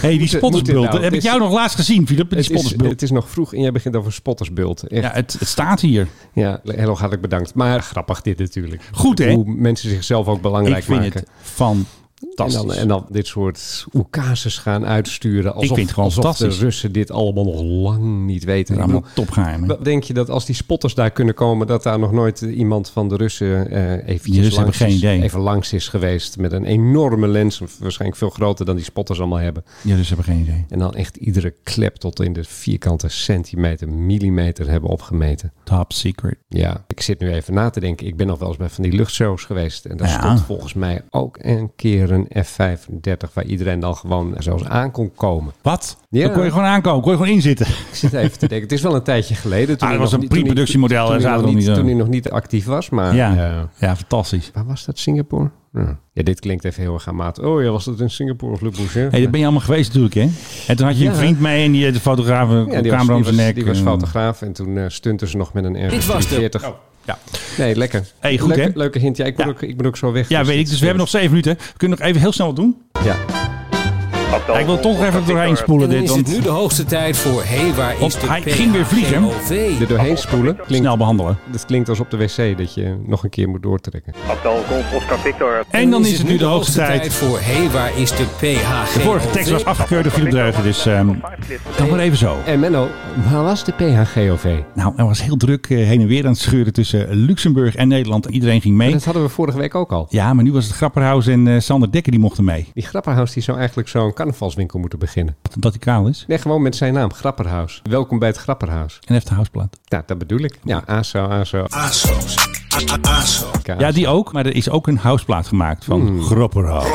S3: hey, die
S4: Moet het- moet dit
S3: spottersbult.
S4: nou?
S3: Heb
S4: Het
S3: ik
S4: is-
S3: jou nog laatst gezien, Filip? Die
S4: Het is,
S3: spottersbult.
S4: het is nog vroeg en jij begint over spottersbult. Echt.
S3: Ja, het, het staat hier.
S4: Ja, heel hartelijk bedankt. Maar grappig dit natuurlijk.
S3: Goed, hè?
S4: Hoe mensen zichzelf ook belangrijk
S3: Ik vind
S4: maken.
S3: het van.
S4: En dan,
S3: fantastisch.
S4: en dan dit soort oekases gaan uitsturen. Alsof,
S3: vind het gewoon
S4: alsof de
S3: fantastisch.
S4: Russen dit allemaal nog lang niet weten. Ik
S3: Allemaal
S4: bedoel,
S3: topgeheim. hè?
S4: wat Denk je dat als die spotters daar kunnen komen, dat daar nog nooit eh, iemand van de Russen eh eventjes
S3: Die Russen hebben
S4: langs,
S3: geen
S4: is,
S3: idee.
S4: even langs is geweest met een enorme lens, waarschijnlijk veel groter dan die spotters allemaal hebben.
S3: Ja, dus ze hebben geen idee.
S4: En dan echt iedere klep tot in de vierkante centimeter, millimeter hebben opgemeten.
S3: Top secret.
S4: Ja, ik zit nu even na te denken. Ik ben nog wel eens bij van die luchtshows geweest. En daar
S3: Ja.
S4: stond volgens mij ook een keer een F-35... waar iedereen dan gewoon zelfs aan kon komen.
S3: Wat?
S4: Ja.
S3: Dan kon je gewoon aankomen, kon je gewoon inzitten.
S4: Ik zit even te denken. Het is wel een tijdje geleden.
S3: Ah, dat was
S4: hij nog
S3: een
S4: niet- toen hij-
S3: pre-productiemodel,
S4: Toen,
S3: hè,
S4: toen, hij
S3: zaten
S4: nog
S3: we nog
S4: niet-
S3: niet,
S4: toen
S3: eh.
S4: hij nog niet actief was. Maar
S3: ja.
S4: eh,
S3: ja, fantastisch.
S4: waar was dat? Singapore? Ja. Ja, dit klinkt even heel erg aan maat. Oh ja, was dat in Singapore of Le Bourget?
S3: hey, daar ben je allemaal geweest natuurlijk, hè? En toen had je een
S4: Ja.
S3: vriend mee en die eh, de fotograaf, een
S4: ja, die was,
S3: camera om
S4: die,
S3: zijn
S4: was,
S3: nek.
S4: die was
S3: eh,
S4: fotograaf en toen eh stunten ze nog met een r
S6: Dit was de- Oh.
S4: 40.
S3: Ja.
S4: Nee, lekker.
S3: Hey, goed,
S4: leuke,
S3: hè?
S4: leuke hint. Ja, ik, ben
S3: Ja.
S4: Ook, ik ben ook zo weg.
S3: Ja, weet ik. Dus we hebben nog zeven minuten. We kunnen nog even heel snel wat doen.
S4: nog... eh, Ja.
S3: Ja, ik wil toch nog even doorheen spoelen dit. Want
S16: de hoogste tijd voor hey, waar
S3: Op- hij ging weer vliegen.
S4: Er doorheen spoelen klinkt,
S3: Oh, snel behandelen.
S4: dat klinkt als op de wc dat je nog een keer moet doortrekken.
S3: En dan is het nu de hoogste tijd.
S16: voor hey, waar is de PHG?
S3: De vorige tekst was afgekeurd door Philip Dreugen, dus ehm, dan maar even zo.
S4: En Eh, Menno, waar was de PHGOV?
S3: Nou, er was heel druk eh, heen en weer aan het scheuren tussen Luxemburg en Nederland. Iedereen ging mee.
S4: Dat hadden we vorige week ook al.
S3: Ja, maar nu was het Grapperhaus en eh, Sander Dekker die mochten mee.
S4: Die Grapperhaus die zou eigenlijk zo'n carnavalswinkel moeten beginnen.
S3: Dat hij kaal is.
S4: Nee, gewoon met zijn naam, Grapperhaus. Welkom bij het Grapperhaus.
S3: En heeft de houseplaat.
S4: Ja, dat bedoel ik. Ja, ASO, ASO.
S6: ASO's.
S3: Ja, die ook. Maar er is ook een houseplaat gemaakt van
S4: Hmm.
S3: Gropperhaus.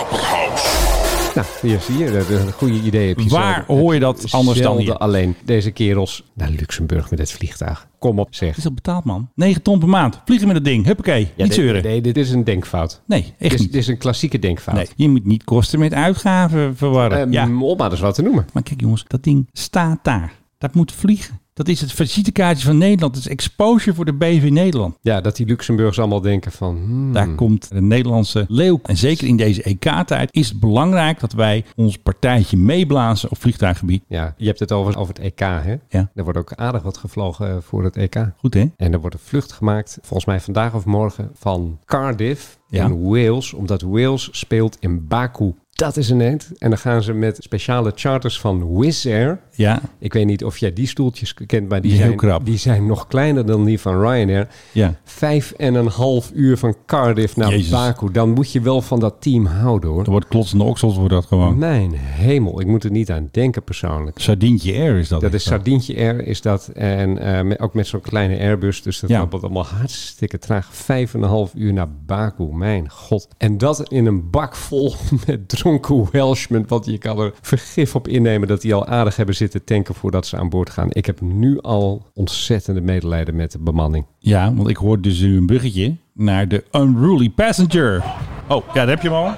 S4: Nou, hier zie je, dat is een goede idee heb je
S3: Waar
S4: zelden.
S3: hoor je dat anders dan
S4: Zelden
S3: hier?
S4: alleen deze kerels naar Luxemburg met het vliegtuig. Kom op, zeg.
S3: Is dat betaald, man? 9 ton per maand. Vliegen met dat ding. Huppakee.
S4: Ja,
S3: niet
S4: dit-
S3: zeuren.
S4: Nee, dit is een denkfout.
S3: Nee, echt
S4: dit is,
S3: niet.
S4: Dit is een klassieke denkfout.
S3: Nee, je moet niet kosten met uitgaven verwarren.
S4: Ehm,
S3: ja.
S4: Om maar eens wat te noemen.
S3: Maar kijk jongens, dat ding staat daar. Dat moet vliegen. Dat is het visitekaartje van Nederland. Dat is exposure voor de BV Nederland.
S4: Ja, dat die Luxemburgers allemaal denken van... hmm,
S3: Daar komt de Nederlandse leeuw. En zeker in deze EK-tijd is het belangrijk dat wij ons partijtje meeblazen op vliegtuiggebied.
S4: Ja, je hebt het over, over het EK, hè?
S3: Ja.
S4: Er wordt ook aardig wat gevlogen eh, voor het EK.
S3: Goed hè?
S4: En er wordt een vlucht gemaakt, volgens mij vandaag of morgen, van Cardiff
S3: Ja.
S4: in Wales. Omdat Wales speelt in Baku. Dat is een eind. En dan gaan ze met speciale charters van Wizz Air.
S3: Ja,
S4: Ik weet niet of jij die stoeltjes kent, maar die,
S3: Die is
S4: zijn,
S3: heel krap.
S4: die zijn nog kleiner dan die van Ryanair.
S3: ja.
S4: Vijf en een half uur van Cardiff naar
S3: Jezus.
S4: Baku. Dan moet je wel van dat team houden hoor.
S3: Er wordt klotsende oksels wordt dat gewoon.
S4: Mijn hemel, ik moet er niet aan denken persoonlijk.
S3: Sardientje Air is dat.
S4: Dat
S3: echt
S4: is
S3: wel.
S4: Sardientje Air, is dat. En eh, me- ook met zo'n kleine Airbus. Dus dat
S3: Ja.
S4: loopt allemaal hartstikke traag. Vijf en een half uur naar Baku, mijn god. En dat in een bak vol met dronken Welshmen. Want je kan er vergif op innemen dat die al aardig hebben zitten tanken voordat ze aan boord gaan. Ik heb nu al ontzettende medelijden met de bemanning.
S3: Ja, want ik hoor dus nu een bruggetje naar de Unruly Passenger. Oh, ja, daar heb je hem al.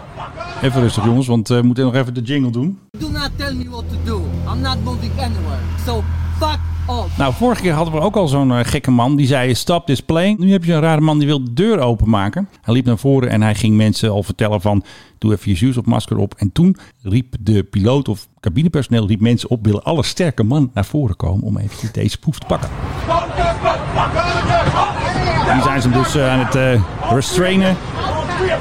S3: Even rustig jongens, want eh, we moeten nog even de jingle doen.
S17: Do not tell me what to do. I'm not moving anywhere. So fuck off.
S3: Nou, vorige keer hadden we ook al zo'n eh, gekke man. Die zei, stop this plane. Nu heb je een rare man die wil de deur openmaken. Hij liep naar voren en hij ging mensen al vertellen van... doe even je zuurstofmasker op. En toen riep de piloot of cabinepersoneel... riep mensen op, willen alle sterke man naar voren komen... om even deze proef te pakken. En nu zijn ze hem dus eh, aan het eh, restrainen.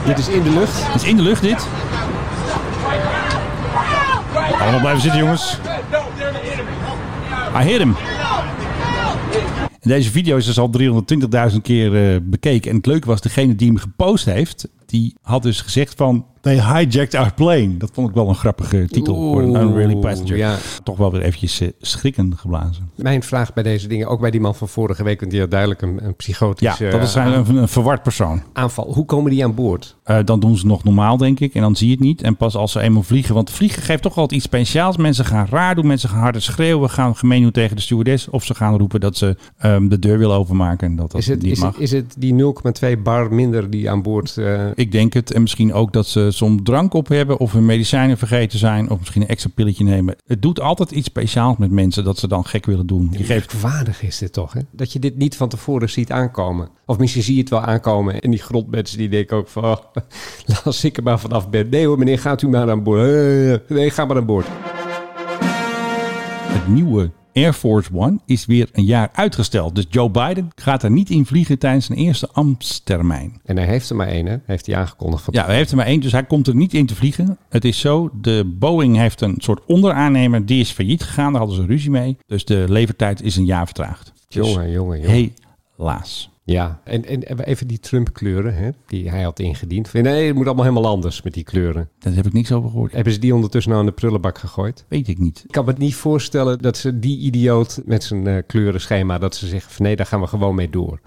S4: Dit is in de lucht.
S3: Het is in de lucht dit. Allemaal blijven zitten jongens. Ah, I hit him. En Deze video is dus al 320.000 keer eh, bekeken. En het leuke was, degene die hem gepost heeft, die had dus gezegd van... They hijacked our plane. Dat vond ik wel een grappige eh, titel voor een
S4: Oeh,
S3: unruly passenger.
S4: ja.
S3: Toch wel weer eventjes eh, schrikken geblazen.
S4: Mijn vraag bij deze dingen, ook bij die man van vorige week, want die had duidelijk een, een
S3: Ja,
S4: psychotische
S3: dat is
S4: eh,
S3: eigenlijk een, een verward persoon.
S4: aanval. Hoe komen die aan boord?
S3: Eh, dan doen ze nog normaal, denk ik. En dan zie je het niet. En pas als ze eenmaal vliegen. Want vliegen geeft toch altijd iets speciaals. Mensen gaan raar doen. Mensen gaan harder schreeuwen. Gaan gemeen doen tegen de stewardess. Of ze gaan roepen dat ze ehm, de deur willen openmaken. En dat dat
S4: Is het,
S3: niet
S4: is,
S3: mag.
S4: het, is het die 0,2 bar minder die aan boord eh,
S3: Ik denk het. En misschien ook dat ze soms drank op hebben. Of hun medicijnen vergeten zijn. Of misschien een extra pilletje nemen. Het doet altijd iets speciaals met mensen. Dat ze dan gek willen doen. Je geeft...
S4: Merkwaardig is dit toch, hè? Dat je dit niet van tevoren ziet aankomen. Of misschien zie je het wel aankomen. En die grondmensen die denken ook van... Oh, als ik er maar vanaf ben. Nee hoor, meneer, gaat u maar aan boord. Eh, Nee, ga maar aan boord.
S3: Het nieuwe Air Force One is weer een jaar uitgesteld. Dus Joe Biden gaat er niet in vliegen tijdens zijn eerste ambtstermijn.
S4: En hij heeft er maar één, hè? Heeft hij aangekondigd. Van,
S3: Ja, hij heeft er maar één, dus hij komt er niet in te vliegen. Het is zo, de Boeing heeft een soort onderaannemer, die is failliet gegaan. Daar hadden ze ruzie mee. Dus de levertijd is een jaar vertraagd. Dus
S4: Jongen, jongen, jongen.
S3: helaas.
S4: Ja, en, en even die Trump-kleuren, hè? Die hij had ingediend. Nee, het moet allemaal helemaal anders met die kleuren.
S3: Daar heb ik niks over gehoord.
S4: Hebben ze die ondertussen nou in de prullenbak gegooid?
S3: Weet ik niet.
S4: Ik kan me niet voorstellen dat ze die idioot met zijn eh, kleurenschema... dat ze zeggen van nee, daar gaan we gewoon mee door.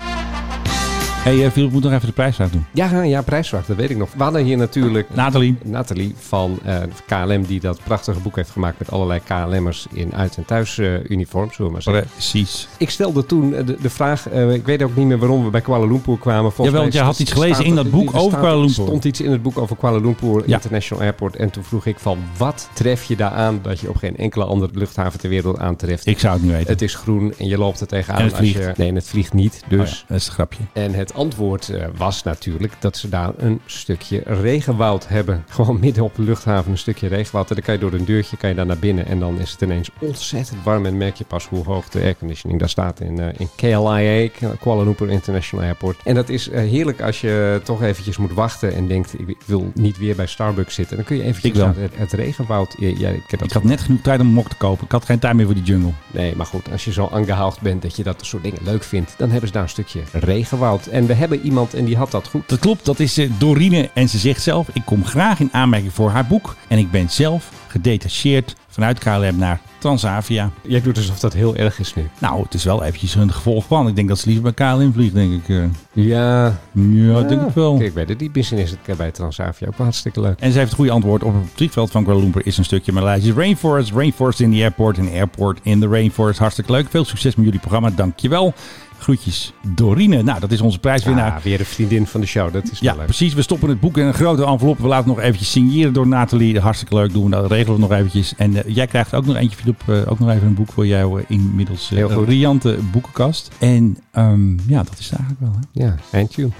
S3: Hé, hey, eh, Philip moet nog even de prijs uit doen.
S4: Ja, ja, prijsvraag, dat weet ik nog. We hadden hier natuurlijk
S3: Nathalie.
S4: Nathalie van eh, KLM, die dat prachtige boek heeft gemaakt met allerlei KLM'ers in uit- en thuisuniform, zullen we maar zeggen.
S3: Precies.
S4: Ik stelde toen eh, de, de vraag, eh, ik weet ook niet meer waarom we bij Kuala Lumpur kwamen.
S3: Jawel,
S4: mij
S3: want jij had
S4: st-
S3: iets gelezen
S4: staat
S3: in dat
S4: er-
S3: boek
S4: er
S3: over
S4: staat-
S3: Kuala Lumpur.
S4: stond iets in het boek over Kuala Lumpur
S3: Ja.
S4: International Airport. En toen vroeg ik van, wat tref je daar aan dat je op geen enkele andere luchthaven ter wereld aantreft?
S3: Ik zou het niet weten.
S4: Het is groen en je loopt er tegenaan.
S3: En het
S4: als je-
S3: vliegt.
S4: nee, en het vliegt niet.
S3: Oh ja,
S4: Dus
S3: dat is een grapje.
S4: en het antwoord eh, was natuurlijk dat ze daar een stukje regenwoud hebben. Gewoon midden op de luchthaven een stukje regenwoud. En dan kan je door een deurtje kan je daar naar binnen. En dan is het ineens ontzettend warm. En merk je pas hoe hoog de airconditioning daar staat in, eh, in KLIA, Kuala Lumpur International Airport. En dat is eh, heerlijk als je toch eventjes moet wachten en denkt, ik wil niet weer bij Starbucks zitten. Dan kun je eventjes
S3: Ik wel.
S4: naar het, het regenwoud. Ja, ja, ik heb dat
S3: Ik had net genoeg tijd om een mok te kopen. Ik had geen tijd meer voor die jungle.
S4: Nee, maar goed, als je zo aangehaald bent dat je dat soort dingen leuk vindt, dan hebben ze daar een stukje regenwoud. En we hebben iemand en die had dat goed.
S3: Dat klopt, dat is eh, Dorine. En ze zegt zelf, ik kom graag in aanmerking voor haar boek. En ik ben zelf gedetacheerd vanuit KLM naar Transavia.
S4: Jij doet alsof dat heel erg is nu.
S3: Nou, het is wel eventjes een gevolg van. Ik denk dat ze liever bij KLM vliegt, denk ik. Ja,
S4: ja,
S3: ja. denk ik wel.
S4: Kijk, bij de die business is het bij Transavia ook wel hartstikke leuk.
S3: En ze heeft het goede antwoord op het vliegveld van Kuala Lumpur is een stukje Maleisisch Rainforest. Rainforest in the airport en airport in the rainforest. Hartstikke leuk. Veel succes met jullie programma. Dankjewel. Groetjes, Dorine. Nou, dat is onze prijswinnaar.
S4: Ja, Ah, weer de vriendin van de show. Dat is wel
S3: Ja,
S4: leuk.
S3: precies. We stoppen het boek in een grote envelop. We laten het nog eventjes signeren door Nathalie. Hartstikke leuk. Doen we dat. Regelen we het nog eventjes. En eh, jij krijgt ook nog eentje, Filip. eh, ook nog even een boek voor jou eh, inmiddels. eh,
S4: Heel goed.
S3: Een riante boekenkast. En ehm, ja, dat is het eigenlijk wel. Hè?
S4: Ja, thank you.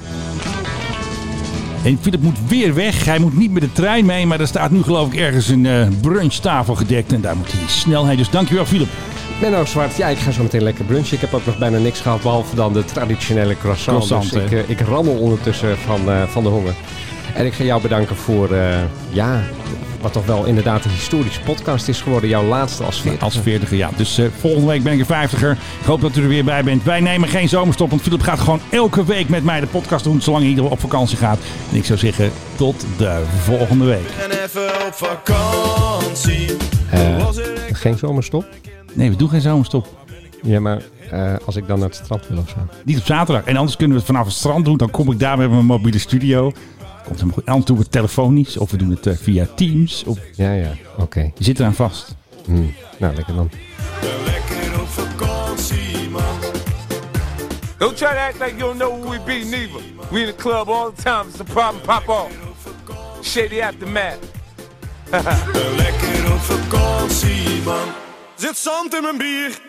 S3: En Filip moet weer weg. Hij moet niet met de trein mee. Maar er staat nu geloof ik ergens een eh, brunchtafel gedekt. En daar moet hij snel heen. Dus dankjewel, Filip.
S4: Menno Zwart, ja, ik ga zo meteen lekker brunchen. Ik heb ook nog bijna niks gehad, behalve dan de traditionele croissant.
S3: Croissant,
S4: dus ik,
S3: hè?
S4: eh, ik rammel ondertussen van, eh, van de honger. En ik ga jou bedanken voor, eh, ja, wat toch wel inderdaad een historische podcast is geworden. Jouw laatste als veertig.
S3: Als veertiger, ja. Dus eh, volgende week ben ik een vijftiger. Ik hoop dat u er weer bij bent. Wij nemen geen zomerstop, want Philip gaat gewoon elke week met mij de podcast doen, zolang hij op vakantie gaat. En ik zou zeggen, tot de volgende week.
S18: En even op vakantie.
S4: Eh, geen zomerstop?
S3: Nee, we doen geen zomerstop.
S4: Ja, maar eh, als ik dan naar het strand wil of zo.
S3: Niet op zaterdag. En anders kunnen we het vanaf het strand doen. Dan kom ik daar met mijn mobiele studio. Komt helemaal goed. Anders doen we het telefonisch of we doen het eh, via Teams. Of...
S4: Ja, ja, oké.
S3: Je zit eraan vast.
S4: Hmm, Nou, lekker dan.
S18: Lekker op vakantie, man.
S2: Don't try to act like you don't know who we be, neither. We in the club all the time. It's a problem, pop off. Shady aftermath.
S18: Lekker op vakantie, man. Zit zand in mijn bier.